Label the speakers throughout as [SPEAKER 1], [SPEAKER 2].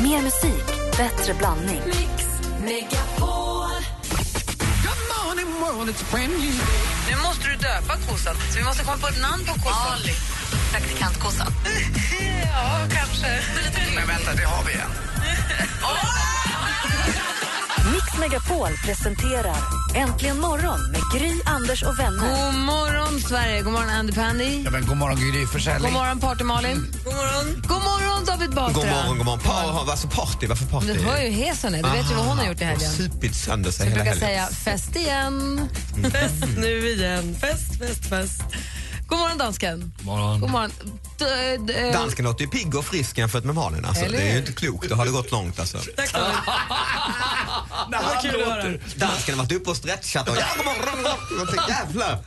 [SPEAKER 1] Mer musik, bättre blandning.
[SPEAKER 2] Nu måste du döpa kossan, så vi måste komma på ett namn på kossan. Ali.
[SPEAKER 1] Praktikantkossan.
[SPEAKER 2] Ja, kanske. Men vänta, det har vi en.
[SPEAKER 1] Mix Megapol presenterar Äntligen morgon med Gry, Anders och vänner.
[SPEAKER 3] God morgon, Sverige. God morgon, Andy Pandy.
[SPEAKER 4] Ja, men god morgon Gry Forssell.
[SPEAKER 3] God morgon,
[SPEAKER 2] Mm.
[SPEAKER 3] Party-Malin. God morgon. God morgon, David Batra.
[SPEAKER 5] God morgon, god morgon. Pa, alltså party, varför party?
[SPEAKER 3] Du hör ju hur hes hon är. Du vet ju vad hon har gjort i
[SPEAKER 5] Hon har
[SPEAKER 3] helgen.
[SPEAKER 5] supit sönder sig
[SPEAKER 3] Du
[SPEAKER 5] hela
[SPEAKER 3] brukar
[SPEAKER 5] helgen.
[SPEAKER 3] säga fest igen.
[SPEAKER 6] Fest nu igen. Fest, fest, fest.
[SPEAKER 3] God morgon, dansken.
[SPEAKER 4] God morgon.
[SPEAKER 3] God morgon. D- d- eh,
[SPEAKER 5] Dansken låter ju pigg och frisk jämfört med Malin. Alltså.
[SPEAKER 3] Eller
[SPEAKER 5] Det är
[SPEAKER 3] hur?
[SPEAKER 5] ju inte klokt, då har det gått långt. Alltså.
[SPEAKER 6] Tack David.
[SPEAKER 5] Han låter- Dansken har varit uppe och stretchat och ja, god morgon, god morgon. Jag tänkte, Jävlar!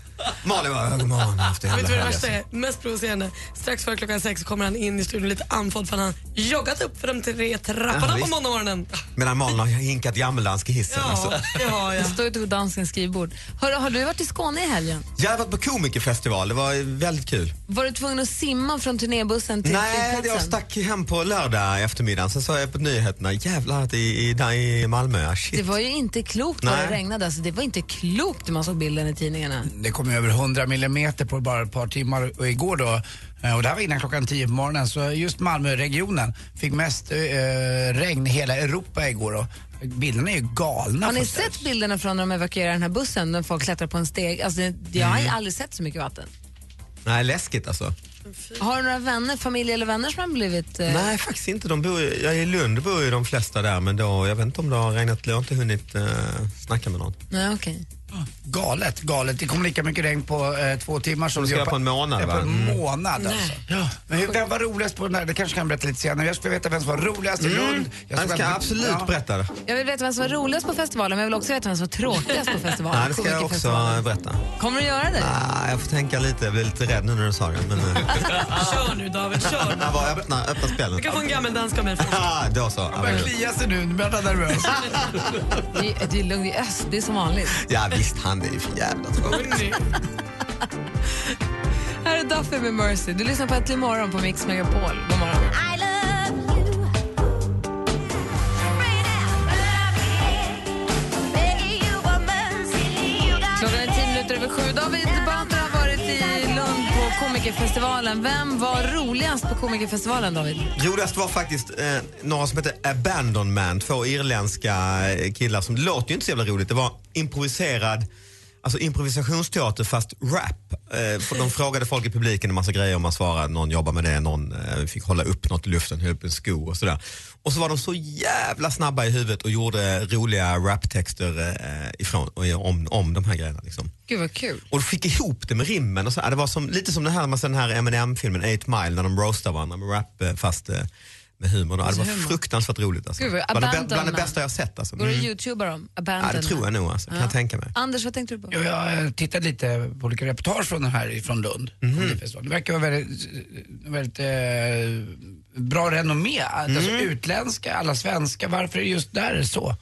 [SPEAKER 5] Malin bara, ja, god morgon. Jag har haft en
[SPEAKER 6] Vet
[SPEAKER 5] jävla
[SPEAKER 6] du vad det
[SPEAKER 5] helg.
[SPEAKER 6] värsta
[SPEAKER 5] alltså.
[SPEAKER 6] är? Mest provocerande. Strax före klockan sex kommer han in i studion lite andfådd för han har joggat upp för de tre
[SPEAKER 5] Ja,
[SPEAKER 6] trapporna på
[SPEAKER 5] visst.
[SPEAKER 6] måndagmorgonen.
[SPEAKER 5] Medan Malin har hinkat gammeldansk i hissen. Alltså.
[SPEAKER 6] Ja, det har jag.
[SPEAKER 3] Det står ju på danskens skrivbord. Hör, har du varit i Skåne i helgen?
[SPEAKER 5] Jag har varit på komikerfestival, det var väldigt kul.
[SPEAKER 3] Var du tvungen att simma från turnébussen till
[SPEAKER 5] Nej,
[SPEAKER 3] flygplatsen?
[SPEAKER 5] jag stack hem på lördag eftermiddagen. Sen sa jag på nyheterna, jävlar att det är i, där i Malmö. Ah,
[SPEAKER 3] Det
[SPEAKER 5] Shit.
[SPEAKER 3] var ju inte klokt vad det
[SPEAKER 5] Nej.
[SPEAKER 3] regnade. Alltså, det var inte klokt när man såg bilden i tidningarna.
[SPEAKER 4] Det kom ju över 100 millimeter på bara ett par timmar och igår då, eh, och det här var innan klockan 10 på morgonen, så just Malmöregionen fick mest eh, regn i hela Europa igår då. Bilderna är ju galna.
[SPEAKER 3] Har ni
[SPEAKER 4] förstås.
[SPEAKER 3] sett bilderna från när de evakuerar den här bussen när folk klättrar på en steg? Alltså, jag har
[SPEAKER 5] Mm.
[SPEAKER 3] aldrig sett så mycket vatten.
[SPEAKER 5] Nej, läskigt alltså.
[SPEAKER 3] Har du några vänner, familj eller vänner som har blivit... eh,
[SPEAKER 5] Nej, faktiskt inte. De bor, ju- ja, I Lund bor ju de flesta där, men då, jag vet inte om det har regnat. Jag har inte hunnit eh, snacka med någon.
[SPEAKER 3] Nej, okej.
[SPEAKER 4] Galet, galet. Det kom lika mycket regn på eh, två timmar som
[SPEAKER 5] Som ska
[SPEAKER 4] det gör
[SPEAKER 5] göra på en månad,
[SPEAKER 4] ja, På
[SPEAKER 5] va? Mm.
[SPEAKER 4] en månad alltså. Ja. Men hur- vem var roligast på den här? Det kanske kan berätta lite senare. Jag skulle veta vem som var roligast i Lund. Jag
[SPEAKER 5] Jag
[SPEAKER 4] skulle
[SPEAKER 5] Mm. ska
[SPEAKER 4] veta-
[SPEAKER 5] absolut
[SPEAKER 4] Ja.
[SPEAKER 5] berätta det.
[SPEAKER 3] Jag vill veta vem som var roligast på festivalen, men jag vill också veta vem som var tråkigast på festivalen.
[SPEAKER 5] Nej, det ska jag också
[SPEAKER 3] Komikerfestivalen.
[SPEAKER 5] berätta.
[SPEAKER 3] Kommer du göra det?
[SPEAKER 5] Ah, jag får tänka lite. Jag blev lite rädd nu när du sa det. Men, eh,
[SPEAKER 6] Kör nu David, kör.
[SPEAKER 5] jag bara öppna, öppna spelen.
[SPEAKER 6] Du kan få en gammal dansk av mig.
[SPEAKER 5] Ah, då så.
[SPEAKER 4] Jag börjar klia sig nu, nu blir jag nervös.
[SPEAKER 3] Det är- Det är lugnt, det är öst, det är som vanligt.
[SPEAKER 5] Ja, visst, han är ju för jävla tråkig.
[SPEAKER 3] Här är Duffy med Mercy. Du lyssnar på Äntligen morgon på Mix Megapol. God morgon. Klockan är tio minuter över sju. David Batra har varit i Lund på Komikerfestivalen. Vem var roligast på Komikerfestivalen, David?
[SPEAKER 5] Roligast var faktiskt eh, några som hette Abandon Man, två irländska eh, killar som det låter ju inte så jävla roligt. Det var improviserad Alltså improvisationsteater fast rap. Eh, för de frågade folk i publiken en massa grejer och man svarade, någon jobbar med det, någon eh, fick hålla upp något i luften, höll upp en sko och sådär. Och så var de så jävla snabba i huvudet och gjorde roliga raptexter eh, ifrån, om, om de här grejerna. Liksom.
[SPEAKER 3] Gud, vad kul.
[SPEAKER 5] Och fick ihop det med rimmen. Och så, Ja, det var som, lite som den här, man ser den här Eminem-filmen 8 Mile när de roastar varandra med rap eh, fast eh, med humor. då. Ja, Det var
[SPEAKER 3] humor.
[SPEAKER 5] fruktansvärt roligt. Alltså.
[SPEAKER 3] Gud, vad-
[SPEAKER 5] bland, det, bä-
[SPEAKER 3] Abandon
[SPEAKER 5] bland det
[SPEAKER 3] Man.
[SPEAKER 5] bästa jag har sett. Alltså.
[SPEAKER 3] Går det att
[SPEAKER 5] Mm.
[SPEAKER 3] youtuba dem?
[SPEAKER 5] Ja,
[SPEAKER 3] Abandon.
[SPEAKER 5] det tror jag nog, alltså. kan jag tänka mig.
[SPEAKER 3] Anders, vad tänkte du på?
[SPEAKER 4] Jo, Jag har tittat lite på olika reportage från den här från Lund. Det verkar vara väldigt, väldigt eh, bra renommé. Alltså utländska, alla svenska. Varför är det just där så?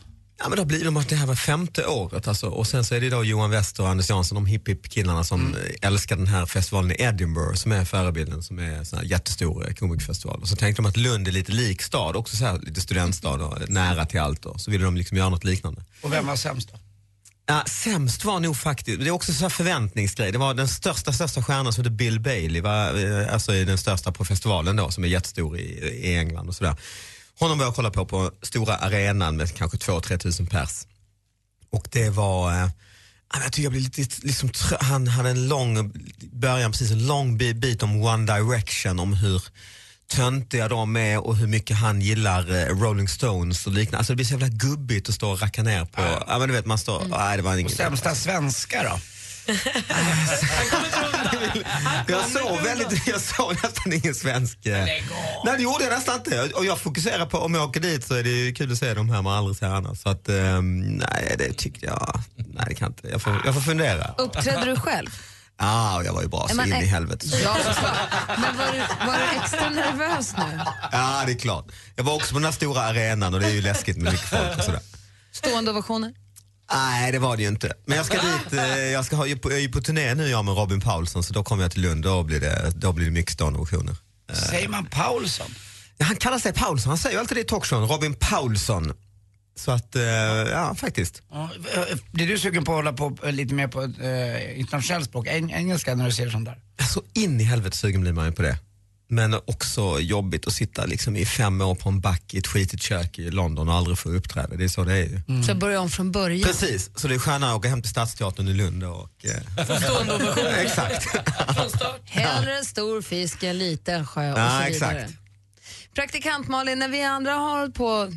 [SPEAKER 5] Ja, men då blir de att det här var femte året alltså. och sen så är det då Johan Wester och Anders Jansson, de hipp hipp killarna som
[SPEAKER 3] Mm.
[SPEAKER 5] eh, älskar den här festivalen i Edinburgh som är förebilden, som är en sån här jättestor eh, komikerfestival. Och så tänkte de att Lund är lite lik stad, också så här, lite studentstad och nära till allt då. så ville de liksom göra något liknande.
[SPEAKER 4] Och vem var sämst då?
[SPEAKER 5] Ja, sämst var nog faktiskt, det är också så här förväntningsgrej. Det var den största, största stjärnan som hette Bill Bailey, va? Eh, alltså i den största på festivalen då som är jättestor i, i England och sådär. Honom var jag och kollade på på stora arenan med kanske 2-3 tusen pers. Och det var, eh, ja, men jag tycker jag blev lite liksom, trö- han hade en lång, början precis en lång bi- bit om One Direction, om hur töntiga de är och hur mycket han gillar eh, Rolling Stones och liknande. Alltså det blir så jävla gubbigt att stå och racka ner på, ja, men du vet man står, nej det var ingen
[SPEAKER 4] Sämsta svenska då?
[SPEAKER 5] Jag såg, väldigt, jag såg nästan ingen svensk... eh, Nej, det gjorde jag nästan inte. Och jag fokuserar på, om jag åker dit så är det ju kul att se de här man aldrig ser annars. Så att, ehm, nej, det tyckte jag... Nej, det kan inte. Jag får, jag får fundera. Ja,
[SPEAKER 3] Uppträdde du själv?
[SPEAKER 5] ah, jag var ju bra så
[SPEAKER 3] Men,
[SPEAKER 5] in i
[SPEAKER 3] eh,
[SPEAKER 5] helvete.
[SPEAKER 3] Ja, såklart. Men var du, var du extra nervös nu?
[SPEAKER 5] Ja, det är klart. Jag var också på den här stora arenan och det är ju läskigt med mycket folk och sådär.
[SPEAKER 3] Stående ovationer?
[SPEAKER 5] Nej, det var det ju inte. Men jag ska dit, eh, jag, ska ha, jag är på- jag är ju på turné nu jag med Robin Paulsson så då kommer jag till Lund och då blir det, då blir det mycket stående ovationer.
[SPEAKER 4] Säger man Paulsson?
[SPEAKER 5] Han kallar sig Paulsson, han säger ju alltid det i talkshowen, Robin Paulsson. Så att, eh, ja faktiskt.
[SPEAKER 4] Ja, eh, blir du sugen på att hålla på eh, lite mer på eh, internationellt språk, Eng engelska, när du ser sånt där?
[SPEAKER 5] Alltså in i helvete sugen blir man ju på det. Men också jobbigt att sitta liksom i fem år på en back i ett skitigt kök i London och aldrig få uppträda. Det är så det är ju.
[SPEAKER 3] Så jag börjar om från början.
[SPEAKER 5] Precis, så det är skönare att åka hem till Stadsteatern i Lund och... Eh,
[SPEAKER 6] Stående ovation
[SPEAKER 5] exakt.
[SPEAKER 6] från start.
[SPEAKER 3] Hellre en stor fisk än liten sjö och
[SPEAKER 5] Ja,
[SPEAKER 3] så vidare.
[SPEAKER 5] exakt.
[SPEAKER 3] Praktikant Malin, när vi andra har hållit på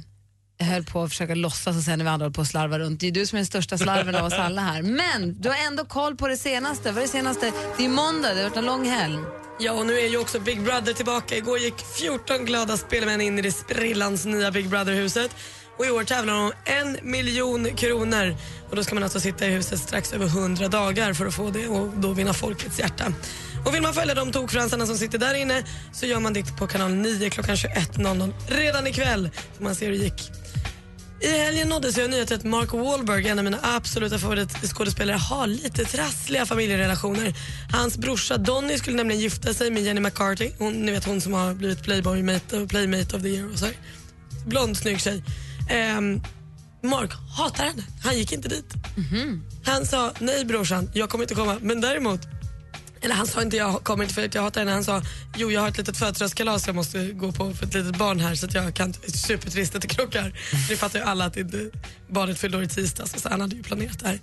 [SPEAKER 3] höll på att försöka låtsas och sen när vi andra höll på att slarva runt. Det är ju du som är den största slarven av oss alla här. Men du har ändå koll på det senaste. Vad är det senaste? Det är måndag, det har varit en lång helg.
[SPEAKER 6] Ja, och nu är ju också Big Brother tillbaka. Igår gick 14 glada spelmän in i det sprillans nya Big Brother-huset. Och i år tävlar de om en miljon kronor. Och då ska man alltså sitta i huset strax över 100 dagar för att få det och då vinna folkets hjärta. Och vill man följa de tokfransarna som sitter där inne så gör man det på kanal 9 klockan 21.00 redan ikväll. Så man ser hur det gick. I helgen nåddes jag av nyheten att Mark Wahlberg, en av mina absoluta favoritskådespelare, har lite trassliga familjerelationer. Hans brorsa Donny skulle nämligen gifta sig med Jenny McCarthy. Hon, ni vet hon som har blivit Playboy-mate och Playmate of the year och så här. Blond, snygg tjej. Ehm, Mark hatar henne. Han gick inte dit. Han sa nej brorsan, jag kommer inte komma. Men däremot, eller han sa inte jag kommer inte för att jag hatar henne. Han sa jo jag har ett litet födelsedagskalas jag måste gå på för ett litet barn här så att jag kan inte. Supertrist att det krockar. Det fattar ju alla att inte barnet fyllde år i tisdags så han hade ju planerat det här.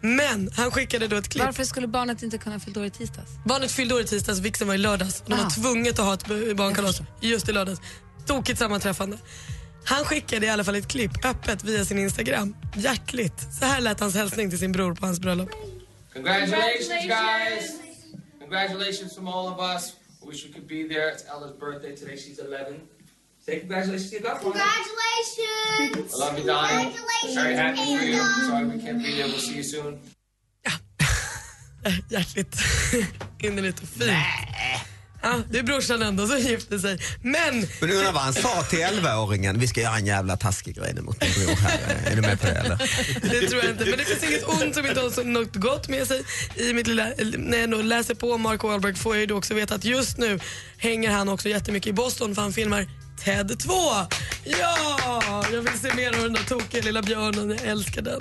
[SPEAKER 6] Men han skickade då ett klipp.
[SPEAKER 3] Varför skulle barnet inte kunna fylla år i tisdags?
[SPEAKER 6] Barnet fyllde år i tisdags, vigseln var i lördags. De
[SPEAKER 3] Ah.
[SPEAKER 6] var tvunget att ha ett b- barnkalas just i lördags. Tokigt sammanträffande. Han skickade i alla fall ett klipp öppet via sin Instagram. Hjärtligt. Så här lät hans hälsning till sin bror på hans bröllop.
[SPEAKER 7] Congratulations, guys. Congratulations from all of us. I wish we could be there. It's Ella's birthday today. She's 11. Say congratulations to your godfather.
[SPEAKER 8] Congratulations!
[SPEAKER 7] I love you, Donnie.
[SPEAKER 8] Congratulations,
[SPEAKER 7] Very happy for you.
[SPEAKER 8] Anna.
[SPEAKER 7] Sorry we can't be there. We'll see you soon.
[SPEAKER 6] Äh, Hjärtligt. Innerligt och fint. Ja, det är brorsan ändå som gifte sig. Men
[SPEAKER 5] Men undrar vad han sa till 11-åringen, vi ska göra en jävla taskig grej nu mot din bror här. Är du med på det eller?
[SPEAKER 6] Det tror jag inte. Men det finns inget ont som inte har så något gott med sig. I mitt lilla, när jag då läser på Mark Wahlberg får jag ju då också veta att just nu hänger han också jättemycket i Boston för han filmar TED 2. Ja! Jag vill se mer av den där tokiga lilla björnen. Jag älskar den.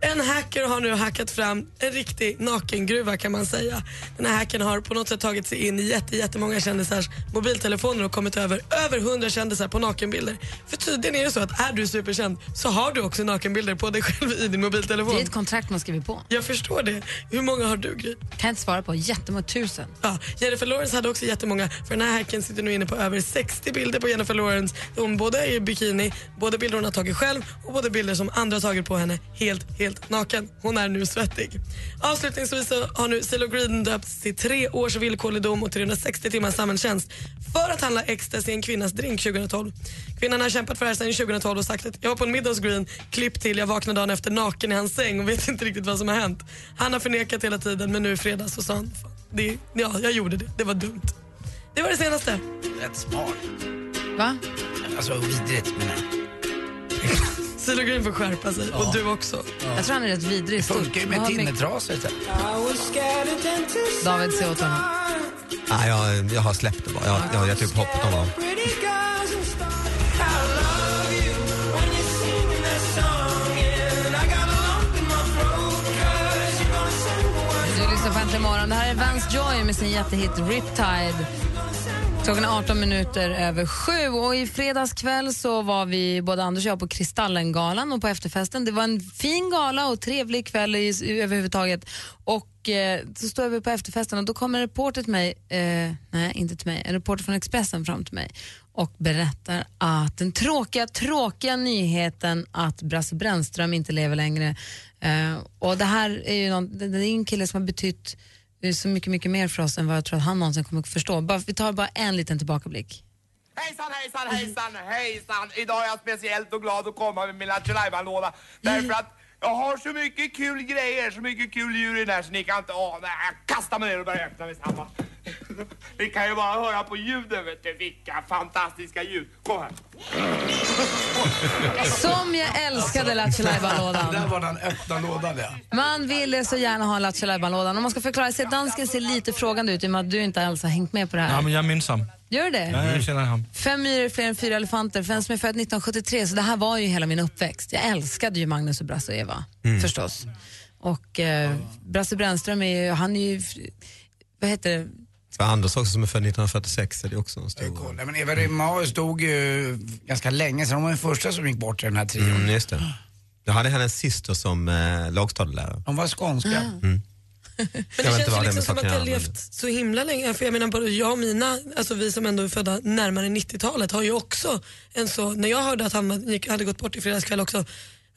[SPEAKER 6] En hacker har nu hackat fram en riktig nakengruva kan man säga. Den här hacken har på något sätt tagit sig in i jätte, jättemånga kändisars mobiltelefoner och kommit över över 100 kändisar på nakenbilder. För tydligen är det så att är du superkänd så har du också nakenbilder på dig själv i din mobiltelefon.
[SPEAKER 3] Det är ett kontrakt man skriver på.
[SPEAKER 6] Jag förstår det. Hur många har du Gry?
[SPEAKER 3] Kan inte svara på. Jättemånga tusen.
[SPEAKER 6] Ja, Jennifer Lawrence hade också jättemånga för den här hacken sitter nu inne på över 60 bilder på Jennifer Lawrence där hon både är i bikini, både bilder hon har tagit själv och både bilder som andra har tagit på henne helt, helt naken. Hon är nu svettig. Avslutningsvis så har nu Silo Green döpts till tre års villkorlig dom och 360 timmars samhällstjänst för att handla ecstasy i en kvinnas drink 2012. Kvinnan har kämpat för det här sedan 2012 och sagt att jag var på en middag hos Green, klipp till, jag vaknade dagen efter naken i hans säng och vet inte riktigt vad som har hänt. Han har förnekat hela tiden men nu i fredags så sa han, "Fan, det, ja jag gjorde det, det var dumt. Det var det senaste.
[SPEAKER 4] Rätt smart.
[SPEAKER 3] Va?
[SPEAKER 4] Alltså vidrigt menar jag.
[SPEAKER 6] Silo Green får skärpa sig och du också.
[SPEAKER 3] Jag tror han är rätt vidrig. i stort.
[SPEAKER 4] Funkar ju
[SPEAKER 3] Vad
[SPEAKER 4] med
[SPEAKER 3] har mycket-
[SPEAKER 4] tinnetrasor till exempel.
[SPEAKER 3] David, se åt honom.
[SPEAKER 5] Nej, jag, jag har släppt det bara. Jag, jag har gett upp hoppet om honom.
[SPEAKER 3] Du lyssnar på Äntligen morgon. Det här är Vance Joy med sin jättehit Riptide. Klockan är 18 minuter över sju och i fredags kväll så var vi både Anders och jag på Kristallengalan och på efterfesten. Det var en fin gala och trevlig kväll i, i, överhuvudtaget. Och eh, så står vi på efterfesten och då kommer en reporter till mig, eh, nej inte till mig, en reporter från Expressen fram till mig och berättar att den tråkiga, tråkiga nyheten att Brasse Brännström inte lever längre. Eh, och det här är ju någon, det, det är en kille som har betytt eh, så mycket, mycket mer för oss än vad jag tror att han någonsin kommer att förstå. Bara, vi tar bara en liten tillbakablick.
[SPEAKER 9] Hejsan, hejsan, hejsan, hejsan! Idag är jag speciellt och glad att komma med min Lattjo-Lajban-låda därför att jag har så mycket kul grejer, så mycket kul djur i den här så ni kan inte ana. Jag kastar mig ner och börjar öppna med samma. Ni kan ju bara höra på ljuden vet du. Vilka fantastiska ljud. Kom här.
[SPEAKER 3] Som jag älskade Lattjo
[SPEAKER 4] Där
[SPEAKER 3] Lajban-lådan.
[SPEAKER 4] var den öppna lådan ja.
[SPEAKER 3] Man ville så gärna ha Lattjo Lajban-lådan. Om man ska förklara sig, dansken ser lite frågande ut i och med att du inte alls har hängt med på det
[SPEAKER 10] Ja,
[SPEAKER 3] här.
[SPEAKER 10] men jag minns honom.
[SPEAKER 3] Gör du det?
[SPEAKER 10] Ja, jag känner honom.
[SPEAKER 3] Fem myror är fler än fyra elefanter, för en som är född 1973, så det här var ju hela min uppväxt. Jag älskade ju Magnus och Brasse och Eva, förstås. Och eh, Brasse Brännström är ju, han är ju, vad heter det,
[SPEAKER 5] För Anders också som är född 1946 är det också en stor...
[SPEAKER 4] Kolla, men Eva Rymahus dog ju ganska länge sedan. Hon var den första som gick bort i den här trion.
[SPEAKER 5] Mm, just det. Jag hade henne en syster som eh, lågstadielärare.
[SPEAKER 4] Hon var skånska.
[SPEAKER 5] Jag
[SPEAKER 6] Men
[SPEAKER 5] vet
[SPEAKER 6] det
[SPEAKER 5] inte
[SPEAKER 6] känns
[SPEAKER 5] vad det
[SPEAKER 6] ju
[SPEAKER 5] är
[SPEAKER 6] liksom
[SPEAKER 5] med
[SPEAKER 6] som att
[SPEAKER 5] saken att
[SPEAKER 6] jag har levt så himla länge. För jag menar både jag och mina, alltså vi som ändå är födda närmare 90-talet har ju också en så, när jag hörde att han var- gick, hade gått bort i fredags kväll också,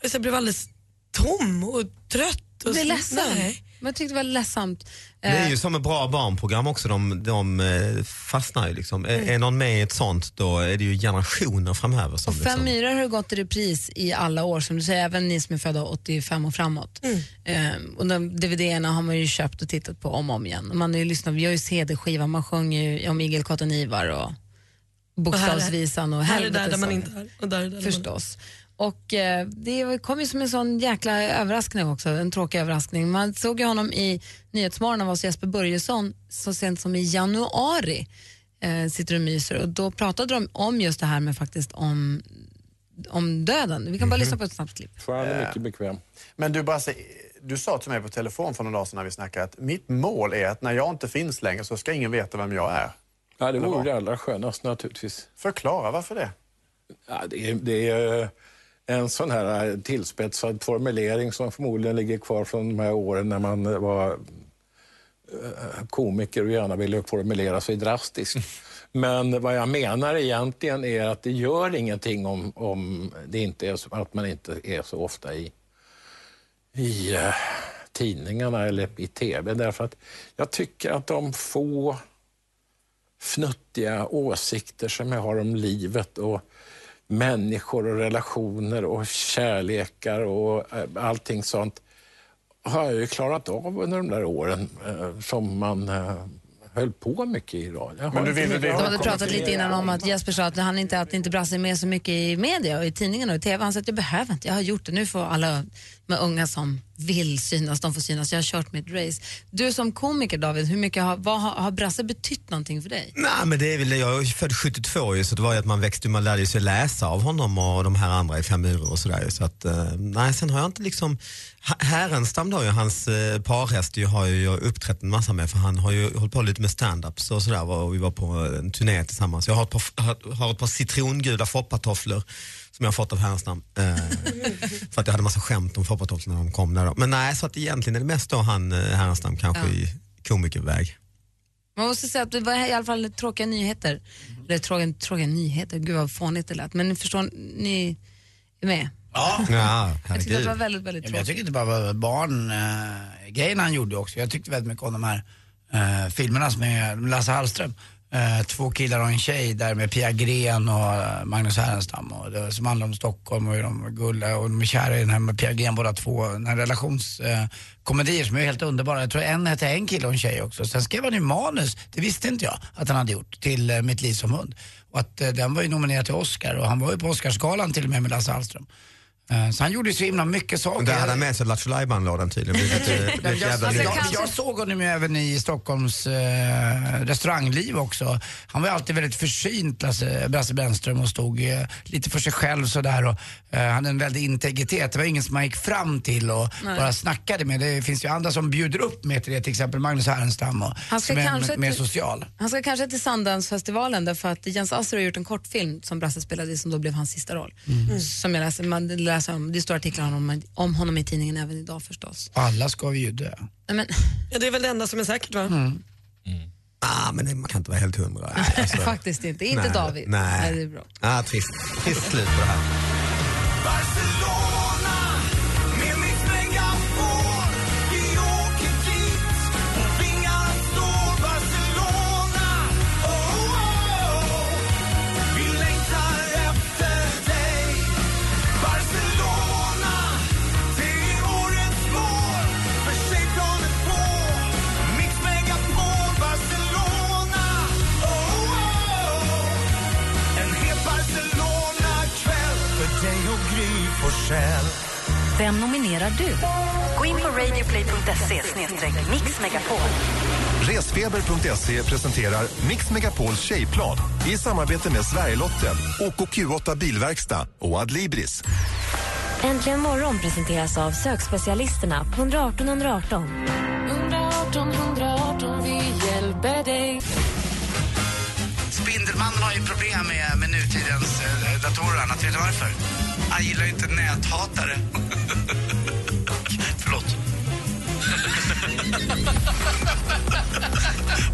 [SPEAKER 6] jag så blev alldeles tom och trött. Och
[SPEAKER 3] blev
[SPEAKER 6] så-
[SPEAKER 3] ledsen.
[SPEAKER 6] Nej.
[SPEAKER 3] Men jag tyckte det var ledsamt.
[SPEAKER 5] Det är ju som ett bra barnprogram också, de, de eh, fastnar ju liksom. Är, är någon med i ett sånt då är det ju generationer framöver som
[SPEAKER 3] Och Fem
[SPEAKER 5] liksom...
[SPEAKER 3] myror har gått i repris i alla år, som du säger, även ni som är födda 85 och framåt.
[SPEAKER 6] Mm.
[SPEAKER 3] Ehm, och de DVD-erna har man ju köpt och tittat på om och om igen. Och Man har ju lyssnat, vi har ju CD-skiva, man sjunger ju om igelkotten Ivar och Bokstavsvisan och
[SPEAKER 6] Här är där, där man
[SPEAKER 3] helvetesången.
[SPEAKER 6] inte är. Och där är där där man...
[SPEAKER 3] Förstås. Och eh, det kom ju som en sån jäkla överraskning också, en tråkig överraskning. Man såg ju honom i Nyhetsmorgon av oss Jesper Börjesson så sent som i januari, eh, sitter och myser och då pratade de om just det här med faktiskt om, om döden. Vi kan bara lyssna på ett snabbt klipp.
[SPEAKER 11] Fortfarande mycket bekväm.
[SPEAKER 9] Eh. Men du Brasse, du sa till mig på telefon för några dagar sedan när vi snackade att mitt mål är att när jag inte finns längre så ska ingen veta vem jag är.
[SPEAKER 11] Ja, det vore det allra skönast naturligtvis.
[SPEAKER 9] Förklara varför det.
[SPEAKER 11] Ja, det, är, det är eh, en sån här eh, tillspetsad formulering som förmodligen ligger kvar från de här åren när man eh, var eh, komiker och gärna ville formulera sig drastiskt. Men vad jag menar egentligen är att det gör ingenting om, om det inte är så, att man inte är så ofta i, i eh, tidningarna eller i tv. Därför att jag tycker att de få fnuttiga åsikter som jag har om livet och människor och relationer och kärlekar och eh, allting sånt har jag ju klarat av under de där åren eh, som man eh, höll på mycket i radio. Jag har
[SPEAKER 9] Men du
[SPEAKER 11] inte
[SPEAKER 9] ville
[SPEAKER 11] mycket-
[SPEAKER 9] det-
[SPEAKER 11] jag
[SPEAKER 3] De
[SPEAKER 11] har
[SPEAKER 3] hade
[SPEAKER 11] kommit
[SPEAKER 3] pratat
[SPEAKER 11] till-
[SPEAKER 3] lite innan om att Jesper sa att han inte, att inte Brasse är med så mycket i media och i tidningarna och i TV. Han sa att jag behöver inte, jag har gjort det. Nu får alla med unga som vill synas, de får synas. Jag har kört mitt race. Du som komiker David, hur mycket har, vad, har, har Brasse betytt någonting för dig?
[SPEAKER 5] Nej men det är väl, jag är född 72 ju så det var ju att man växte, man lärde sig läsa av honom och de här andra i Fem myror och sådär ju. så att, eh, nej sen har jag inte liksom, Ha- Härenstam då ju, hans eh, parhäst ju har ju jag uppträtt en massa med för han har ju hållit på lite med stand-ups och sådär och vi var på en turné tillsammans. Jag har ett par, har, har ett par citrongula foppatofflor som jag har fått av Härenstam. Eh, för att jag hade massa skämt om foppatofflor när de kom där då. Men nej så att egentligen är det mest då han eh, Härenstam kanske
[SPEAKER 3] Ja.
[SPEAKER 5] i komikerväg.
[SPEAKER 3] Man måste säga att det var i alla fall tråkiga nyheter. Eller tråkiga, tråkiga nyheter, gud vad fånigt det lät. Men ni förstår, ni är med.
[SPEAKER 4] Ja.
[SPEAKER 5] Ja,
[SPEAKER 3] Jag tyckte att
[SPEAKER 5] herregud.
[SPEAKER 3] det var väldigt, väldigt
[SPEAKER 4] Ja, men jag
[SPEAKER 3] tråkigt.
[SPEAKER 4] tycker inte bara var barngrejen han gjorde också. Jag tyckte väldigt mycket om de här eh, filmerna som är med Lasse Hallström. Eh, två killar och en tjej där med Pia Gren och eh, Magnus Härenstam och det, som handlar om Stockholm och hur de är gulla och de är kära i den här med Pia Gren båda två. Den här relationskomedier eh, komedier som är helt underbara. Jag tror en hette en kille och en tjej också. Sen skrev han ju manus, det visste inte jag att han hade gjort, till eh, Mitt liv som hund. Och att eh, den var ju nominerad till Oscar och han var ju på Oscarsgalan till och med med Lasse Hallström. Eh, Så han gjorde ju så himla mycket saker.
[SPEAKER 5] Där hade han med sig Lattjo Lajban-lådan tydligen. Vilket, eh,
[SPEAKER 4] Jag,
[SPEAKER 5] vilket
[SPEAKER 4] jag,
[SPEAKER 5] jävla
[SPEAKER 3] alltså,
[SPEAKER 5] lyx.
[SPEAKER 4] jag,
[SPEAKER 3] kanske-
[SPEAKER 4] jag såg honom ju även i Stockholms eh, restaurangliv också. Han var ju alltid väldigt försynt, Lasse, Brasse Brännström, och stod eh, lite för sig själv sådär. Och, eh, han hade en väldig integritet. Det var ingen som man gick fram till och bara snackade med. Det finns ju andra som bjuder upp med till det, till exempel Magnus Härenstam, och,
[SPEAKER 3] Han ska
[SPEAKER 4] som är
[SPEAKER 3] kanske
[SPEAKER 4] m- mer
[SPEAKER 3] till-
[SPEAKER 4] social.
[SPEAKER 3] Han ska kanske till Sundance-festivalen därför att Jens Asser har gjort en kortfilm som Brasse spelade i som då blev hans sista roll.
[SPEAKER 5] Mm.
[SPEAKER 3] Mm. Som jag läser, man läser om, det står artiklar om, om honom i tidningen även idag förstås.
[SPEAKER 4] Alla ska vi ju dö.
[SPEAKER 3] Nej, men,
[SPEAKER 6] Ja, det är väl det enda som är säkert va?
[SPEAKER 3] Mm.
[SPEAKER 5] Ah, men det- man kan inte vara helt hundra. Alltså,
[SPEAKER 3] faktiskt inte, inte
[SPEAKER 5] nej,
[SPEAKER 3] David.
[SPEAKER 5] Nej.
[SPEAKER 3] det är bra.
[SPEAKER 5] Ah, trist. trist slut på det här.
[SPEAKER 11] Oh, Oh,
[SPEAKER 9] Barcelona
[SPEAKER 1] Forssell. Vem nominerar du? Gå in på radioplay.se mixmegapol.
[SPEAKER 10] Resfeber.se presenterar Mix Megapols tjejplan i samarbete med Sverigelotten, OKQ8 Bilverkstad och Adlibris.
[SPEAKER 12] Äntligen morgon presenteras av sökspecialisterna på 118 118.
[SPEAKER 13] 118 118, vi hjälper dig.
[SPEAKER 4] Spindelmannen har ju problem med, med nutidens eh, datorer och annat. Vet du varför? Han gillar ju inte näthatare. Förlåt.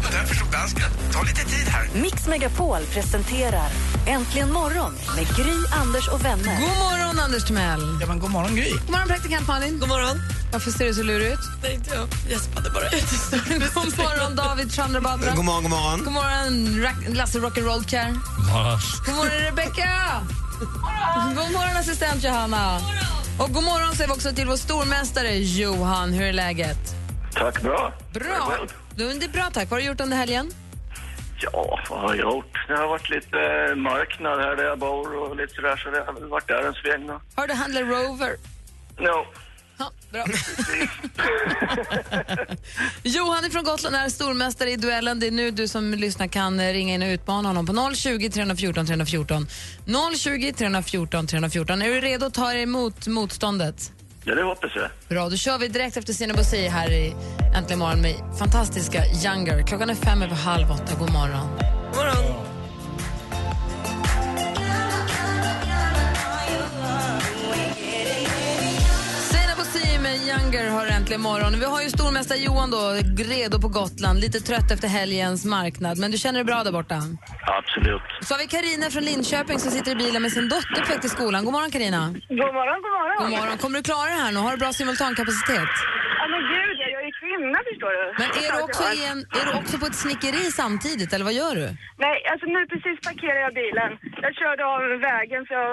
[SPEAKER 4] och därför stod dansken. Ta lite tid här.
[SPEAKER 1] Mix Megapol presenterar Äntligen morgon med Gry, Anders och vänner.
[SPEAKER 3] God morgon, Anders Timell.
[SPEAKER 4] Ja, men god morgon, Gry.
[SPEAKER 3] God morgon, praktikant Malin. God morgon. Varför ser du så lurig ut?
[SPEAKER 6] Nej, inte jag. Gäspade bara ut.
[SPEAKER 3] God morgon, David Chandrabadra.
[SPEAKER 5] God morgon, god morgon.
[SPEAKER 3] God morgon, Ra- Lasse Rock'n'Rollcare. God morgon, Rebecca. God morgon, assistent Johanna. Och god morgon säger vi också till vår stormästare Johan. Hur är läget?
[SPEAKER 14] Tack, bra.
[SPEAKER 3] Bra. Du, det är bra, tack. Vad har du gjort under helgen?
[SPEAKER 14] Ja, vad har jag gjort? Det har varit lite eh, marknad här där jag bor och lite sådär, så det har väl varit där en sväng. och-
[SPEAKER 3] Har du handlat Rover?
[SPEAKER 14] Ja,
[SPEAKER 3] Ja, bra. Johan från Gotland är stormästare i duellen. Det är nu du som lyssnar kan eh, ringa in och utmana honom på 020 314 314. 020 314 314. Är du redo att ta emot motståndet?
[SPEAKER 14] ja det hoppas jag.
[SPEAKER 3] Bra, då kör vi direkt efter Sina Bosi här i Äntligen morgon med fantastiska Younger. Klockan är fem över halv åtta. God morgon.
[SPEAKER 6] God morgon.
[SPEAKER 3] Sina Bosi med Younger har äntligen morgon. Vi har ju stormästare Johan då, redo på Gotland. Lite trött efter helgens marknad, men du känner dig bra där borta?
[SPEAKER 14] Absolut.
[SPEAKER 3] Så har vi Karina från Linköping som sitter i bilen med sin dotter på väg till skolan. God morgon Karina.
[SPEAKER 15] God morgon, god morgon.
[SPEAKER 3] God morgon. Kommer du klara det här nu? Har du bra simultankapacitet?
[SPEAKER 15] Ja, men gud, jag är ju kvinna förstår du.
[SPEAKER 3] Men är du, också i en, är du också på ett snickeri samtidigt eller vad gör du?
[SPEAKER 15] Nej, alltså nu precis parkerade jag bilen. Jag körde av vägen så jag...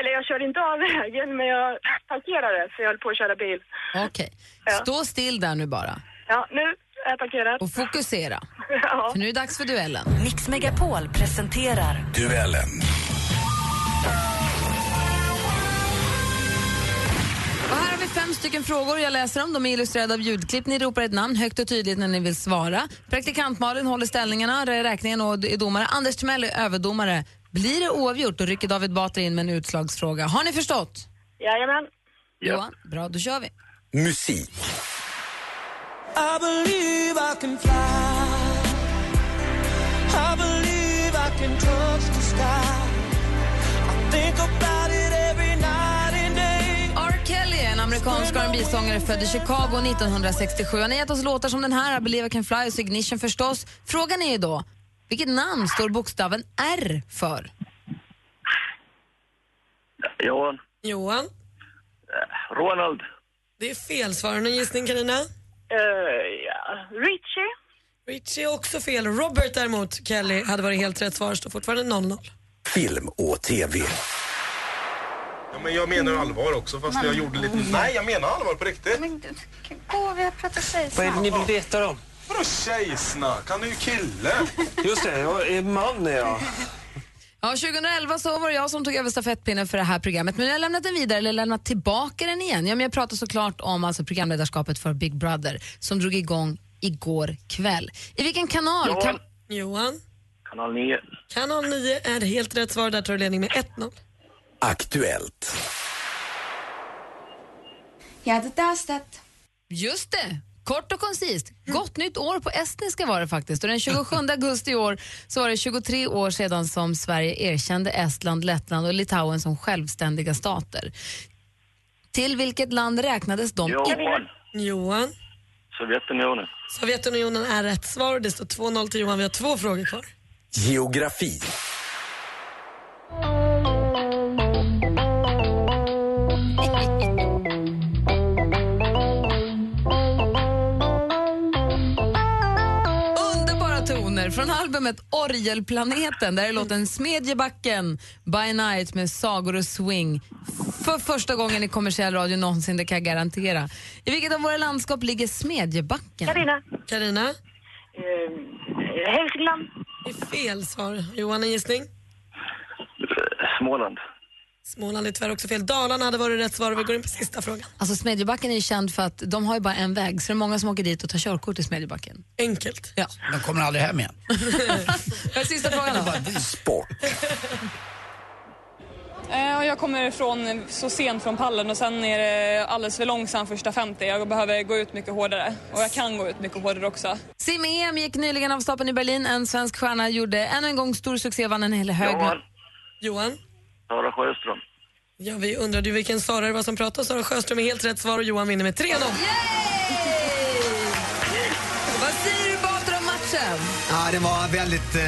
[SPEAKER 15] Eller jag körde inte av vägen, men jag parkerade för jag höll på att köra bil.
[SPEAKER 3] Okej. Stå still där nu bara.
[SPEAKER 15] Ja, nu är jag parkerad.
[SPEAKER 3] Och fokusera.
[SPEAKER 15] Ja.
[SPEAKER 3] För nu är det dags för duellen.
[SPEAKER 1] Mix Megapol presenterar
[SPEAKER 10] Duellen.
[SPEAKER 3] Och här har vi fem stycken frågor. Jag läser dem. De är illustrerade av ljudklipp. Ni ropar ett namn högt och tydligt när ni vill svara. Praktikant Malin håller ställningarna, rä- räkningen och är domare. Anders Timell är överdomare. Blir det oavgjort då rycker David Batra in med en utslagsfråga. Har ni förstått?
[SPEAKER 15] Jajamän.
[SPEAKER 3] Johan, bra då kör vi.
[SPEAKER 16] Musik.
[SPEAKER 13] I believe I can fly. I believe I can touch the sky. I think about it every night and day.
[SPEAKER 3] R. Kelly är en amerikansk R&B-sångare född i Chicago 1967. Han har gett oss låtar som den här, I believe I can fly och Ignition förstås. Frågan är ju då, vilket namn står bokstaven R för?
[SPEAKER 14] Johan,
[SPEAKER 6] Johan,
[SPEAKER 14] Ronald.
[SPEAKER 6] det är fel svar. Har du någon gissning Carina?
[SPEAKER 15] ja. Richie.
[SPEAKER 6] Richie är också fel. Robert däremot, Kelly, hade varit helt rätt svar. Står fortfarande 0-0.
[SPEAKER 16] Film och TV.
[SPEAKER 17] Ja, men jag menar allvar också fast jag gjorde lite... Nej, jag menar allvar på riktigt.
[SPEAKER 8] Gå, vi har pratat tjejsnack.
[SPEAKER 17] berättar om? Vadå tjejsnack? Han är ju kille.
[SPEAKER 16] Just det, jag är man är jag.
[SPEAKER 3] Ja, 2011 så var det jag som tog över stafettpinnen för det här programmet. Men jag har lämnat den vidare, eller lämnat tillbaka den igen. Ja, men jag pratar såklart om alltså programledarskapet för Big Brother som drog igång igår kväll. I vilken kanal? Kan...
[SPEAKER 6] Johan,
[SPEAKER 14] Kanal 9.
[SPEAKER 6] kanal 9 är helt rätt svar. Där tar du ledning med 1-0.
[SPEAKER 16] Aktuellt.
[SPEAKER 3] Jag hade testat. Just det! Kort och koncist. Gott nytt år på estniska var det faktiskt. Och den 27 augusti i år så var det 23 år sedan som Sverige erkände Estland, Lettland och Litauen som självständiga stater. Till vilket land räknades de?
[SPEAKER 14] Johan,
[SPEAKER 6] Johan,
[SPEAKER 14] Sovjetunionen.
[SPEAKER 6] Sovjetunionen är rätt svar och det står 2-0 till Johan. Vi har två frågor kvar.
[SPEAKER 16] Geografi.
[SPEAKER 3] Underbara toner från albumet Orgelplaneten där är låten Smedjebacken by night med sagor och swing. För första gången i kommersiell radio någonsin, det kan jag garantera. I vilket av våra landskap ligger Smedjebacken?
[SPEAKER 15] Carina.
[SPEAKER 6] Carina?
[SPEAKER 15] Hälsingland.
[SPEAKER 6] Det är fel svar. Johan, en gissning?
[SPEAKER 14] Småland.
[SPEAKER 6] Småland är tyvärr också fel. Dalarna hade varit rätt svar. Vi går in på sista frågan.
[SPEAKER 3] Alltså Smedjebacken är ju känd för att de har ju bara en väg, så det är många som åker dit och tar körkort i Smedjebacken.
[SPEAKER 6] Enkelt.
[SPEAKER 3] Ja.
[SPEAKER 4] De kommer aldrig hem igen.
[SPEAKER 3] Sista frågan då.
[SPEAKER 16] Sport.
[SPEAKER 18] Eh, och Jag kommer
[SPEAKER 6] Mm.
[SPEAKER 18] från, så sent från pallen och sen är det alldeles för långsam första 50. Jag behöver gå ut mycket hårdare och jag kan gå ut mycket hårdare också.
[SPEAKER 3] Sim-EM E gick nyligen av stapeln i Berlin. En svensk stjärna gjorde ännu en gång stor succé och vann en hel hög med...
[SPEAKER 14] Johan.
[SPEAKER 6] Johan?
[SPEAKER 14] Sara Sjöström.
[SPEAKER 6] Ja, vi undrade ju vilken Sara det var som pratade. Sara Sjöström är helt rätt svar och Johan vinner med 3-0.
[SPEAKER 3] Vad säger du Batra om matchen?
[SPEAKER 5] Ja, det var väldigt... Eh,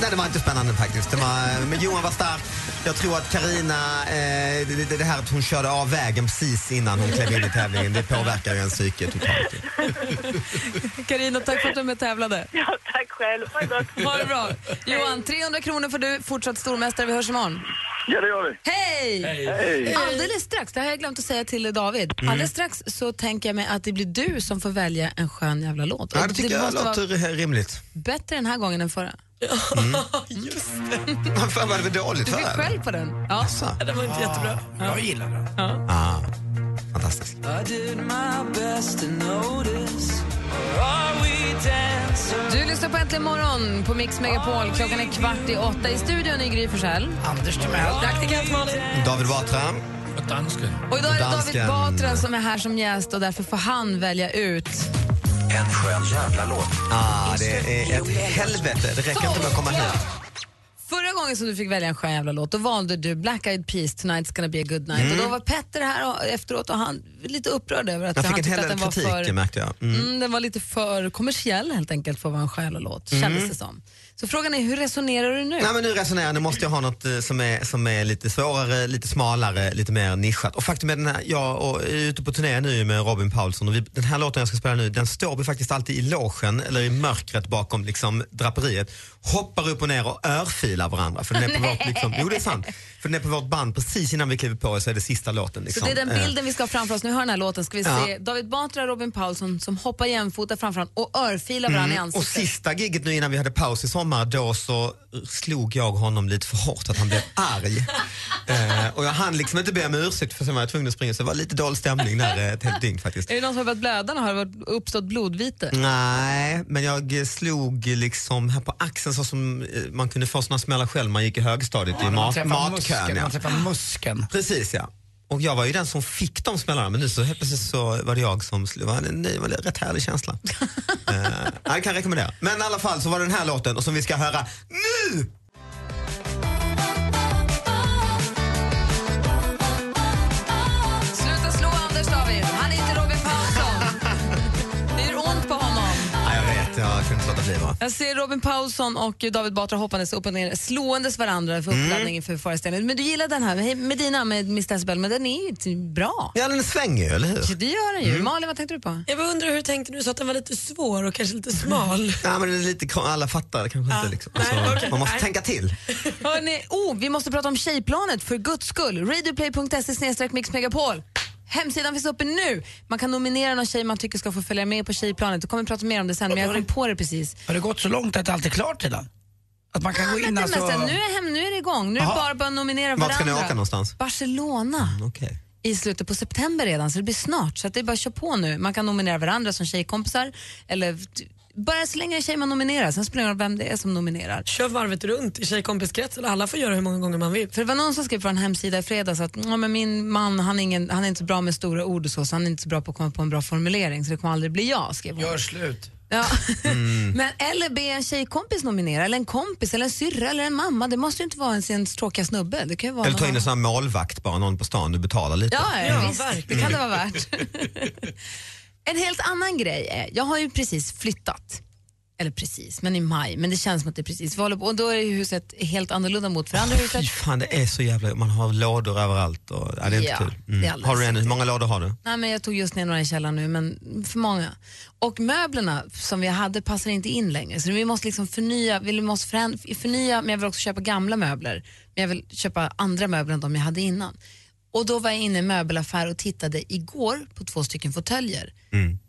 [SPEAKER 5] nej, det var inte spännande faktiskt. Det var, men Johan var stark. Jag tror att Karina eh, det, det- det här att hon körde av vägen precis innan hon klev in i tävlingen, det påverkar ju ens psyke totalt.
[SPEAKER 3] Carina, tack för att du är med och tävlade.
[SPEAKER 15] Ja, tack själv. Ha det gott.
[SPEAKER 3] Ha det bra. Johan, 300 kronor får du. Fortsatt stormästare. Vi hörs imorgon.
[SPEAKER 14] Ja, det gör vi.
[SPEAKER 3] Hej!
[SPEAKER 14] Hej. Hej.
[SPEAKER 3] Alldeles strax, det här har jag glömt att säga till David.
[SPEAKER 5] Mm.
[SPEAKER 3] Alldeles strax så tänker jag mig att det blir du som får välja en skön jävla låt.
[SPEAKER 5] Ja,
[SPEAKER 3] Och
[SPEAKER 5] det tycker jag
[SPEAKER 3] måste
[SPEAKER 5] låter
[SPEAKER 3] vara
[SPEAKER 5] rimligt.
[SPEAKER 3] bättre den här gången än förra.
[SPEAKER 5] Mm.
[SPEAKER 6] Just
[SPEAKER 5] Fan, var det väl
[SPEAKER 3] Du
[SPEAKER 5] dåligt
[SPEAKER 3] fick
[SPEAKER 5] för?
[SPEAKER 3] skäll på den. Ja.
[SPEAKER 5] Alltså.
[SPEAKER 6] Det var inte jättebra.
[SPEAKER 4] Jag gillar den.
[SPEAKER 5] Ah, fantastiskt.
[SPEAKER 3] Du lyssnar på Äntligen morgon på Mix Megapol. Klockan är kvart i åtta. I studion är Gry Forssell.
[SPEAKER 5] Ah.
[SPEAKER 4] Anders Timell.
[SPEAKER 6] Praktikant Malin.
[SPEAKER 5] David Batra.
[SPEAKER 19] Och dansken.
[SPEAKER 3] Och idag är det David
[SPEAKER 19] Dansken.
[SPEAKER 3] Batra som är här som gäst och därför får han välja ut.
[SPEAKER 5] En skön jävla låt. Ah, det är ett helvete. Det räcker inte med att komma hit.
[SPEAKER 3] Förra gången som du fick välja en skön jävla låt, då valde du Black Eyed Peas, Tonight's gonna be a good night.
[SPEAKER 5] Mm.
[SPEAKER 3] Och då var Petter här och, efteråt och han var lite upprörd över att
[SPEAKER 5] Jag
[SPEAKER 3] han
[SPEAKER 5] fick en
[SPEAKER 3] tyckte
[SPEAKER 5] hel
[SPEAKER 3] att
[SPEAKER 5] del
[SPEAKER 3] den var
[SPEAKER 5] kritik,
[SPEAKER 3] för...
[SPEAKER 5] märkte jag.
[SPEAKER 3] Mm.
[SPEAKER 5] Mm.
[SPEAKER 3] den var lite för kommersiell helt enkelt för att vara en själ och låt,
[SPEAKER 5] Mm.
[SPEAKER 3] kändes det som. Så frågan är, hur resonerar du nu?
[SPEAKER 5] Nej men nu resonerar jag, nu måste jag ha något eh, som är, som är lite svårare, lite smalare, lite mer nischat. Och faktum är den här, jag och, är ute på turné nu med Robin Paulsson och vi, den här låten jag ska spela nu den står vi faktiskt alltid i logen eller i mörkret bakom liksom, draperiet. Hoppar upp och ner och örfilar varandra. För den är på
[SPEAKER 3] Nej.
[SPEAKER 5] vårt, liksom, jo det är sant. För den är på vårt band precis innan vi kliver på så är det sista låten.
[SPEAKER 3] Så
[SPEAKER 5] Liksom.
[SPEAKER 3] det är den
[SPEAKER 5] Eh,
[SPEAKER 3] bilden vi ska ha framför oss. Nu hör den här låten ska vi
[SPEAKER 5] Ja.
[SPEAKER 3] se David Batra och Robin Paulsson som hoppar jämfota framför honom och örfilar varandra i
[SPEAKER 5] Mm, och
[SPEAKER 3] ansiktet.
[SPEAKER 5] sista giget nu innan vi hade paus i sommar, då så slog jag honom lite för hårt att han blev arg. eh, och jag hann liksom inte be om ursäkt för sen var jag tvungen att springa så det var lite dålig stämning där eh, ett helt dygn faktiskt.
[SPEAKER 3] Är det någon som har börjat blöda? nu? Har det varit- uppstått
[SPEAKER 5] Mm.
[SPEAKER 3] blodvite?
[SPEAKER 5] Nej, men jag eh, slog liksom här på axeln så som eh, man kunde få såna smällar själv när man gick i högstadiet
[SPEAKER 4] när
[SPEAKER 5] i
[SPEAKER 4] man
[SPEAKER 5] mat,
[SPEAKER 4] träffar muskeln,
[SPEAKER 5] matkön.
[SPEAKER 4] man träffar muskeln.
[SPEAKER 5] Precis ja. Och jag var ju den som fick de smällarna men nu så helt plötsligt så var det jag som slog. Det var en, det var en rätt härlig känsla. Eh, ja, det kan jag rekommendera. Men i alla fall så var det den här låten och som vi ska höra nu!
[SPEAKER 3] Sluta slå Anders David, han är inte Robin Paulsson. Det gör ont på honom.
[SPEAKER 5] Ja, jag vet, jag kunde inte låta bli va.
[SPEAKER 3] Jag ser Robin Paulsson och David Batra hoppandes upp och ner, slåendes varandra för
[SPEAKER 5] Mm.
[SPEAKER 3] uppladdningen för föreställningen. Men du gillar den här med- med dina med Miss Decibel, men den är ju inte bra.
[SPEAKER 5] Ja, den svänger ju, eller hur?
[SPEAKER 3] Ja, det gör den ju.
[SPEAKER 5] Mm.
[SPEAKER 3] Malin, vad tänkte du på?
[SPEAKER 6] Jag bara undrar hur du tänkte nu, så att den var lite svår och kanske lite smal.
[SPEAKER 5] Ja, men det är lite, kon- alla fattar kanske inte liksom. Så Man måste tänka till.
[SPEAKER 3] Hörrni, oh, vi måste prata om tjejplanet för guds skull. Radioplay.se snedstreck Mix Megapol. Hemsidan finns uppe nu. Man kan nominera någon tjej man tycker ska få följa med på tjejplanet. Vi kommer prata mer om det sen, men jag kom på det precis.
[SPEAKER 4] Har det gått så långt att allt är klart redan? Att man kan gå in
[SPEAKER 3] Men
[SPEAKER 4] alltså...
[SPEAKER 3] nästan, nu, är hem, nu är det igång. Nu är det
[SPEAKER 4] Jaha.
[SPEAKER 3] bara att börja nominera varandra.
[SPEAKER 5] Vart ska ni åka någonstans?
[SPEAKER 3] Barcelona. I slutet på september redan, så det blir snart. Så att det är bara att köra på nu. Man kan nominera varandra som tjejkompisar. Eller t- bara så länge en tjej man nominerar, sen spelar det ingen roll vem det är som nominerar.
[SPEAKER 6] Kör varvet runt i tjejkompiskretsen. Alla får göra hur många gånger man vill.
[SPEAKER 3] För det var någon som skrev på en hemsida i fredags att ja, men min man han är, ingen, han är inte så bra med stora ord och så, så han är inte så bra på att komma på en bra formulering så det kommer aldrig bli jag, skrev hon.
[SPEAKER 4] Gör slut.
[SPEAKER 3] Ja.
[SPEAKER 5] Mm.
[SPEAKER 3] Men eller be en tjejkompis nominera, eller en kompis, eller en syrra, eller en mamma. Det måste ju inte vara ens, ens tråkiga snubbe. Det kan ju vara
[SPEAKER 5] Eller ta
[SPEAKER 3] någon
[SPEAKER 5] in en sån här målvakt bara, någon på stan, du betalar lite.
[SPEAKER 3] Ja, visst. Det kan det vara värt. en helt annan grej är, jag har ju precis flyttat. Eller precis, men i maj. Men det känns som att det är precis. Vi håller på, och då är ju huset helt annorlunda mot för andra huset.
[SPEAKER 5] Fy fan, det är så jävla... Man har lådor överallt. Och, ja, det är inte
[SPEAKER 3] Ja,
[SPEAKER 5] kul.
[SPEAKER 3] det är
[SPEAKER 5] Mm.
[SPEAKER 3] alldeles
[SPEAKER 5] Har du en, hur många lådor har du?
[SPEAKER 3] Nej, men jag tog just ner några i källaren nu, men för många. Och möblerna som vi hade passar inte in längre. Så vi måste liksom förnya, vi måste förän- förnya, men jag vill också köpa gamla möbler. Men jag vill köpa andra möbler än de jag hade innan. Och då var jag inne i en möbelaffär och tittade igår på två stycken fåtöljer.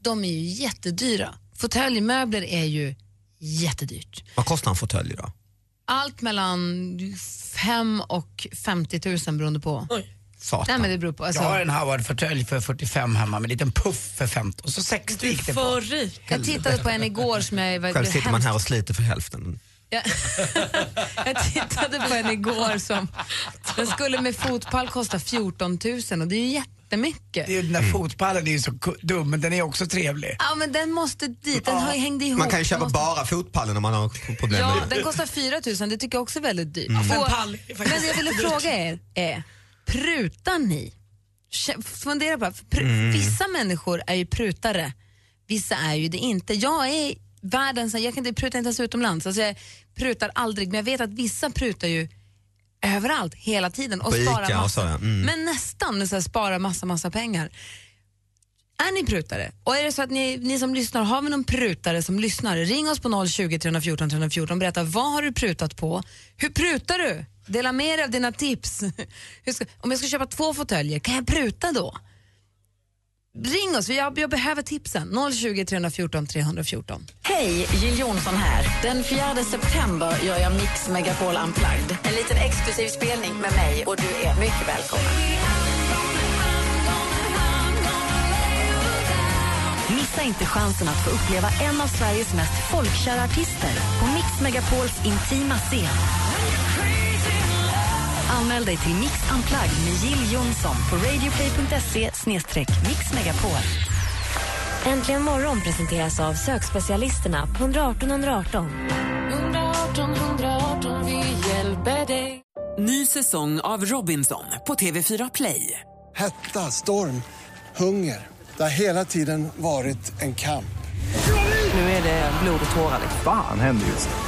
[SPEAKER 3] De är ju jättedyra. Fåtöljmöbler är ju jättedyrt.
[SPEAKER 5] Vad kostar en fåtölj idag?
[SPEAKER 3] Allt mellan 5 och 50 000 beroende på.
[SPEAKER 4] Satan.
[SPEAKER 3] Nej, men det beror på. Alltså,
[SPEAKER 4] Jag har en Howard-fåtölj för 45 hemma med en liten puff för 15 och så 60 gick det på.
[SPEAKER 3] rik. Jag tittade på en igår som jag...
[SPEAKER 5] Själv sitter man här och sliter för hälften.
[SPEAKER 3] Jag, jag tittade på en igår som... Den skulle med fotpall kosta 14 000 och det är ju jättemycket.
[SPEAKER 4] Det är ju den där fotpallen är ju så ku- dum men den är också trevlig.
[SPEAKER 3] Ja, men den måste dit. Den har hängde ihop.
[SPEAKER 5] Man kan ju köpa
[SPEAKER 3] Den måste-
[SPEAKER 5] bara fotpallen om man har problem
[SPEAKER 3] Ja,
[SPEAKER 5] med det.
[SPEAKER 3] den kostar 4 000. Det tycker jag också är väldigt dyrt.
[SPEAKER 5] Mm. Ja, för en
[SPEAKER 3] Och-
[SPEAKER 5] pall
[SPEAKER 6] är faktiskt
[SPEAKER 3] men det jag ville
[SPEAKER 6] dyrt.
[SPEAKER 3] fråga er är, prutar ni? Kä- Fundera på det. För pr-
[SPEAKER 5] Mm.
[SPEAKER 3] Vissa människor är ju prutare, värsta är ju det inte. Jag är världens, jag kan inte pruta inte ens utomlands. Alltså jag prutar aldrig, men jag vet att vissa prutar ju överallt, hela tiden och
[SPEAKER 5] På
[SPEAKER 3] sparar
[SPEAKER 5] Ica och
[SPEAKER 3] massa.
[SPEAKER 5] sådär, mm.
[SPEAKER 3] Men nästan så här, sparar massa, massa pengar. Är ni prutare? Och är det så att ni, ni som lyssnar, har vi någon prutare som lyssnar? Ring oss på 020 314 314 berätta vad har du prutat på? Hur prutar du? Dela med dig av dina tips. Hur ska, om jag ska köpa två fåtöljer, kan jag pruta då? Ring oss, jag, jag behöver tipsen. 020 314 314.
[SPEAKER 19] Hej, Jill Johnson här. Den 4 september gör jag Mix Megapol Unplugged. En liten exklusiv spelning med mig och du är mycket välkommen.
[SPEAKER 12] Missa inte chansen att få uppleva en av Sveriges mest folkkära artister på Mix Megapols intima scen. Anmäl dig till Mix Unplugged med Jill Johnson på radioplay.se mixmegapol.
[SPEAKER 1] Äntligen morgon presenteras av sökspecialisterna på 118 118.
[SPEAKER 12] 118 118, vi hjälper dig.
[SPEAKER 20] Ny säsong av Robinson på TV4 Play.
[SPEAKER 21] Hetta, storm, hunger. Det har hela tiden varit en kamp.
[SPEAKER 20] Nu är det blod och tårar.
[SPEAKER 22] Fan händer just nu.